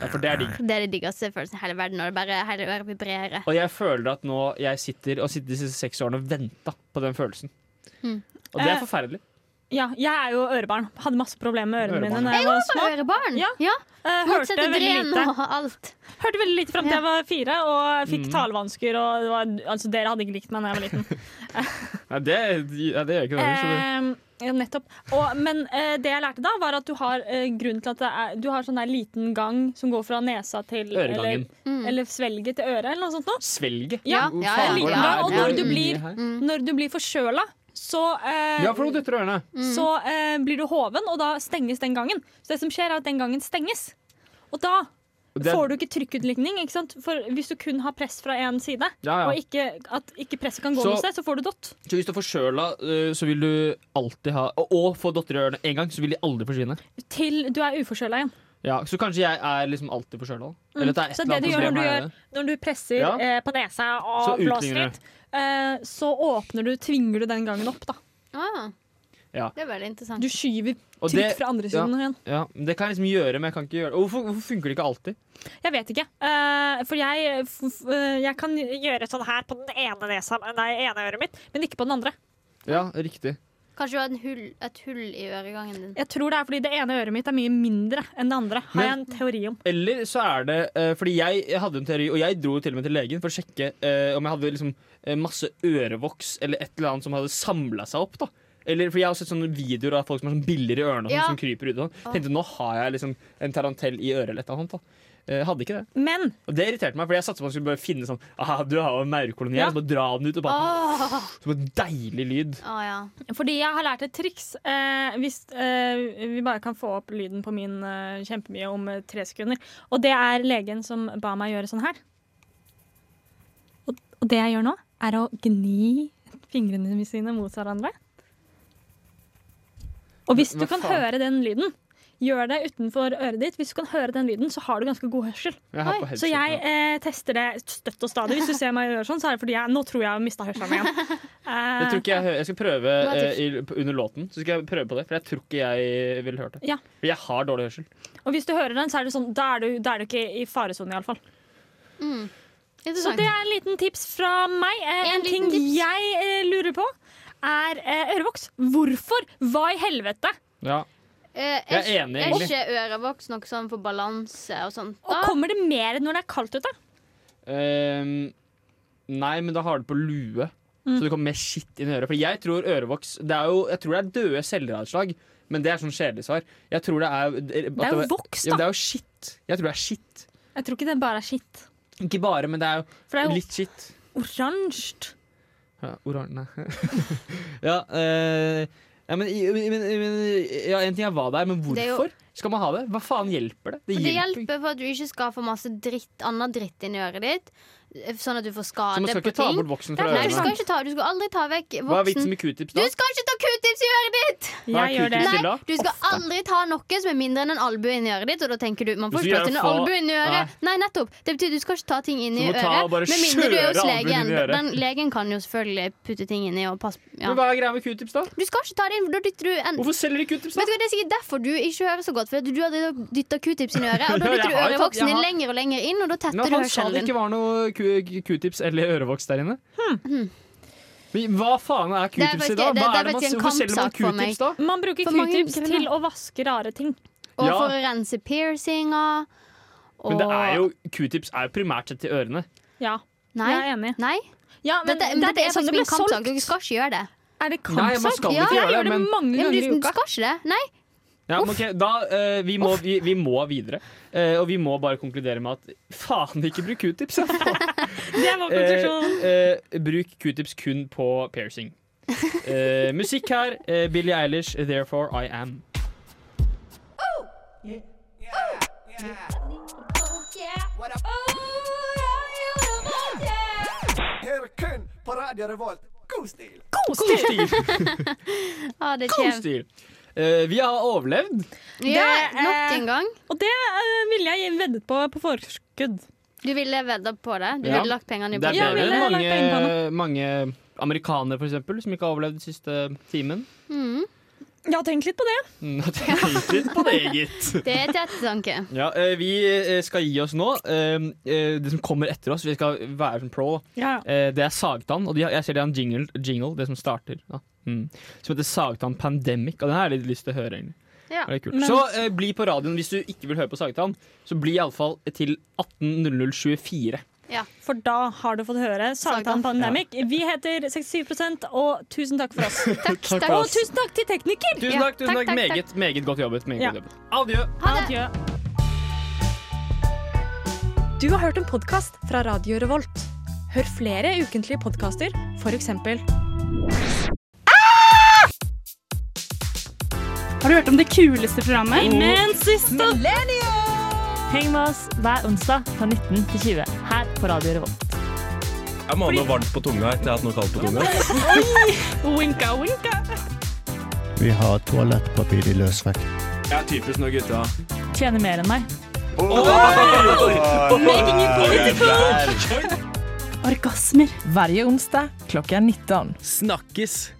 Ja, for det er digg. Det er det diggeste følelsen i hele verden, når det bare hele øret vibrerer. Og jeg føler at nå jeg sitter og sitter de siste seks årene og venta på den følelsen. Og det Eh, er forferdelig. Ja, jeg er jo ørebarn. Hadde masse problemer med ørene Ørebarn, mine da jeg var små. Ørebarn! Ja. ja. Eh, Hørte Motsette veldig dren lite. og alt. Hørte veldig lite fram til Ja. jeg var fire og Mm. fikk talevansker. Og det var, altså, dere hadde ikke likt meg da jeg var liten. Nei, det, (laughs) ja, det gjør ikke det. Så det. Eh, ja, nettopp. Og, men eh, det jeg lærte da, var at du har eh, grunn til at det er, du har sånn der liten gang som går fra nesa til Øregangen. Eller, eller svelget til øret, eller noe sånt noe. Svelget. Mm. Ja, Hvor ja, faen ja, går det ja, her? og Det er når du mye blir- her. Når du blir forkjøla, så, eh, Ja, for Mm. noe dytter i ørene. så eh, blir du hoven, og da stenges den gangen. Så det som skjer, er at den gangen stenges. Og da Og det- får du ikke trykkutlikning, ikke sant? For hvis du kun har press fra én side, Ja, ja. og ikke, at ikke presset kan gå Så- noe sted, så får du dott. Så hvis du er forkjøla, eh, så vil du alltid ha Og, og få dotter i ørene én gang, så vil de aldri forsvinne. Til du er uforkjøla igjen. Ja, så kanskje jeg er liksom alltid forkjøla. da. Eller at det er et Mm. Så eller det annet du gjør problem når du, her. gjør, når du presser Ja. eh, på nesa Så og blåser utligner litt, eh, så åpner du, tvinger du den gangen opp. Da. Ah. Ja. Det er veldig interessant. Du skyver Og trykk det- fra andre ja. siden igjen. Ja, men det kan jeg liksom gjøre, men jeg kan ikke gjøre det. Og Hvorfor, hvorfor funker det ikke alltid? Jeg vet ikke. Eh, for jeg, f f eh, jeg kan gjøre sånn her på den ene nesa, nei, ene øret mitt, men ikke på den andre. Ja, riktig. Kanskje du har en hull, et hull i øregangen din. Jeg tror det er fordi det ene øret mitt er mye mindre enn det andre, har jeg Men- en teori om. Eller så er det eh, Fordi jeg, jeg hadde en teori, og jeg dro til og med til legen for å sjekke eh, om jeg hadde liksom eh, masse ørevoks eller et eller annet som hadde samla seg opp. da eller, for Jeg har også sett sånne videoer av folk som har sånn biller i ørene og sånn, Ja. som kryper ut. Og sånn. tenkte nå har jeg liksom en tarantell i øret eller et eller annet. da Eh, Hadde ikke det. Men Og det irriterte meg, for jeg satsa på at man skulle bare finne sånn ah, Du har jo en maurkolonie. Ja. Så bare dra den ut. Og bare, Åh, Som en deilig lyd. Å, ja. fordi jeg har lært et triks eh, Hvis eh, vi bare kan få opp lyden på min eh, kjempemye om eh, tre sekunder. Og det er legen som ba meg gjøre sånn her. Og, og det jeg gjør nå, er å gni fingrene sine mot hverandre. Og hvis du Hva kan faen? høre den lyden, Gjør det utenfor øret ditt. Hvis du kan høre den lyden, så har du ganske god hørsel. Jeg har på Så headset jeg nå. eh, tester det støtt og stadig. Hvis du ser meg gjøre sånn, så er det fordi jeg, nå tror jeg jeg har mista hørselen igjen. (laughs) Eh, Jeg tror ikke jeg, hø- jeg skal prøve Hva er eh, i, under låten, Så skal jeg prøve på det for jeg tror ikke jeg ville hørt det. Ja. For jeg har dårlig hørsel. Og hvis du hører den, så er det sånn, da er du, da er du ikke i faresonen iallfall. Så det er en liten tips fra meg. Eh, En en liten ting tips. jeg eh, lurer på, er eh, ørevoks. Hvorfor? Hva i helvete? Ja. Eh, Jeg er enig, Er egentlig. ikke ørevoks noe sånn for balanse og sånt? Og Da? kommer det mer når det er kaldt ute? Ehm, nei, men da har du på lue, Mm. så det kommer mer skitt inn i øret. For jeg tror ørevoks det er jo, Jeg tror det er døde celleavslag, men det er sånn kjedelig svar. Jeg tror det er Det Det er jo voks, Ja, men da. det er jo skitt. Jeg tror det er skitt. Jeg tror ikke det bare er skitt. Ikke bare, men det er jo For det er jo litt skitt. oransje. Ja, oran- Nei. (laughs) ja, eh, ja, men, i- i- men, i- men ja, En ting er hva det er, men hvorfor Det er jo- skal man ha det? Hva faen hjelper det? For det hjelper for at du ikke skal få masse dritt, annen dritt inn i øret ditt. eh, Sånn at du får Så man skade skal på ikke ta ting. bort voksen fra Nei, du skal ørene. ikke ta, du skal aldri ta vekk Hva er vitsen voksen. med q-tips Du da? skal ikke ta q-tips i øret ditt! Hva er Jeg gjør det. q-tips Nei, til da? Du skal aldri ta noe som er mindre enn en albue inn i øret ditt. Og da tenker du, man får Hvis du gjør ikke plass til en få- albue inn i øret. Nei. nettopp. Det betyr du skal ikke ta ting inn Du i må ta og øret. bare Med mindre du er hos kjøre albuen inn legen. i øret. Den legen kan jo selvfølgelig putte ting inni og passe ja. Men hva er greia med q-tips da? Du skal ikke ta det inn, for da dytter du en Hvorfor selger de q-tips da? Vet du hva, Det er sikkert derfor du ikke hører så godt. Fordi du hadde dytta q-tips inn i øret, og (laughs) da Ja, jeg dytter du har jo tatt- jeg ørevoksen din har- lenger og lenger inn, og da tetter Men du han sa det hørselen din. Hmm. ikke var noe Q- q-tips eller ørevoks der inne. Hmm. Men hva faen er Det er q-tips i faktisk- dag? det- Hva det er er det man, faktisk en hvorfor selger man kampsak for meg. q-tips da? Man bruker For mange q-tips grunner. til å vaske rare ting. Og Ja. for å rense piercinger. Og... Men det er jo, q-tips er jo primært sett til ørene. Ja, Nei. jeg er enig. Nei. Ja, men Dette, det, det, er er sånn faktisk det ble min kampsak. solgt. Dere skal ikke gjøre det. Er det Nei, man kampsak? skal Ja. ikke Jeg gjøre gjør det, det men Ja, mange men ganger i du, du uka. skal ikke det. Nei. ja, men ok, da, eh, vi, må, vi, vi må videre. Eh, og vi må bare konkludere med at faen ikke bruk (laughs) q-tips. ja. Det var konklusjonen. Eh, eh, bruk q-tips kun på piercing. Eh, musikk her. eh, Billie Eilish, 'Therefore I Am'. Oh, God God stil. stil! Ah, det God kommer. stil. Eh, vi har overlevd. Ja, Det, eh, nok en gang. Og det eh, ville jeg veddet på på forskudd. Du ville vedda på det? Du Ja. ville lagt pengene i Det på er Ja, bedre enn ville jeg lagt penger på mange, mange amerikanere for eksempel, som ikke har overlevd den siste timen. Jeg har tenkt litt på det. Mm, at (laughs) jeg tenkte litt på det, gitt. Det er et ettertanke. Ja, eh, vi eh, skal gi oss nå. Eh, eh, Det som kommer etter oss, vi skal være som pro, Ja. eh, det er Sagtann. Og de har, jeg ser de har en jingle, jingle det som starter, da. Mm. som heter Sagtann Pandemic. Og den har jeg litt lyst til å høre. egentlig. Ja. Det er kult. Men- Så eh, bli på radioen hvis du ikke vil høre på Sagtann. Så bli iallfall til 18.00.24. For da har du fått høre Sagtann Sagtann. Pandemic. Vi heter 67 og tusen takk for oss. (laughs) Takk, Takk for Og oss. tusen takk til tekniker! Tusen Ja, takk, tusen takk, takk. takk, Meget, meget godt jobbet. Meget Ja. godt jobbet. Adjø. Ha det. Adjø. Du har hørt en podkast fra Radio Revolt. Hør flere ukentlige podkaster, f.eks. Ah! Har du hørt om det kuleste programmet? Oh. Imens siste! Heng med oss hver onsdag fra 19 til 20 her på Radio Revolt. Jeg må ha noe varmt på tunga etter jeg har hatt noe kaldt på (laughs) tunga. Winka, winka. Vi har toalettpapir i løsvekt. Jeg er typisk når gutta Tjener mer enn meg. Making it political. Orgasmer. Varje onsdag klokka 19. Snakkes!